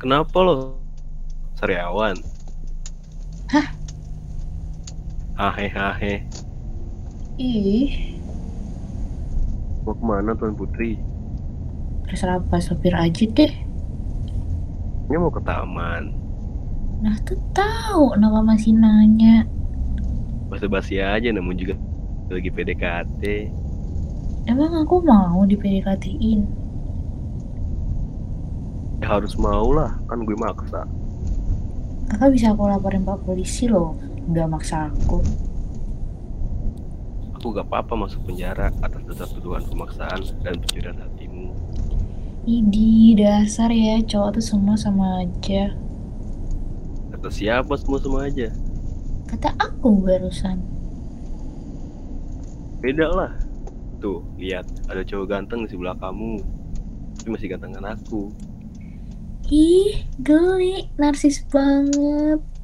Kenapa lo? Sariawan. Hah? Hahe hahe. Ih, Mau kemana Tuan Putri? terserah Pak Sopir aja deh. Ini mau ke taman. Nah tuh tahu kenapa masih nanya. Basa-basi aja namun juga lagi PDKT. Emang aku mau di PDKT-in? Ya harus mau lah, kan gue maksa. Kakak bisa aku laporin Pak Polisi loh. Nggak maksa aku. Aku gak apa-apa masuk penjara atas dasar tuduhan pemaksaan dan pencurian hatimu. Idi, dasar ya cowok tuh semua sama aja. Kata siapa semua semua aja. Kata aku barusan. Beda lah. Tuh, lihat ada cowok ganteng di sebelah kamu. Tapi masih gantengan aku. Ih, geli, narsis banget.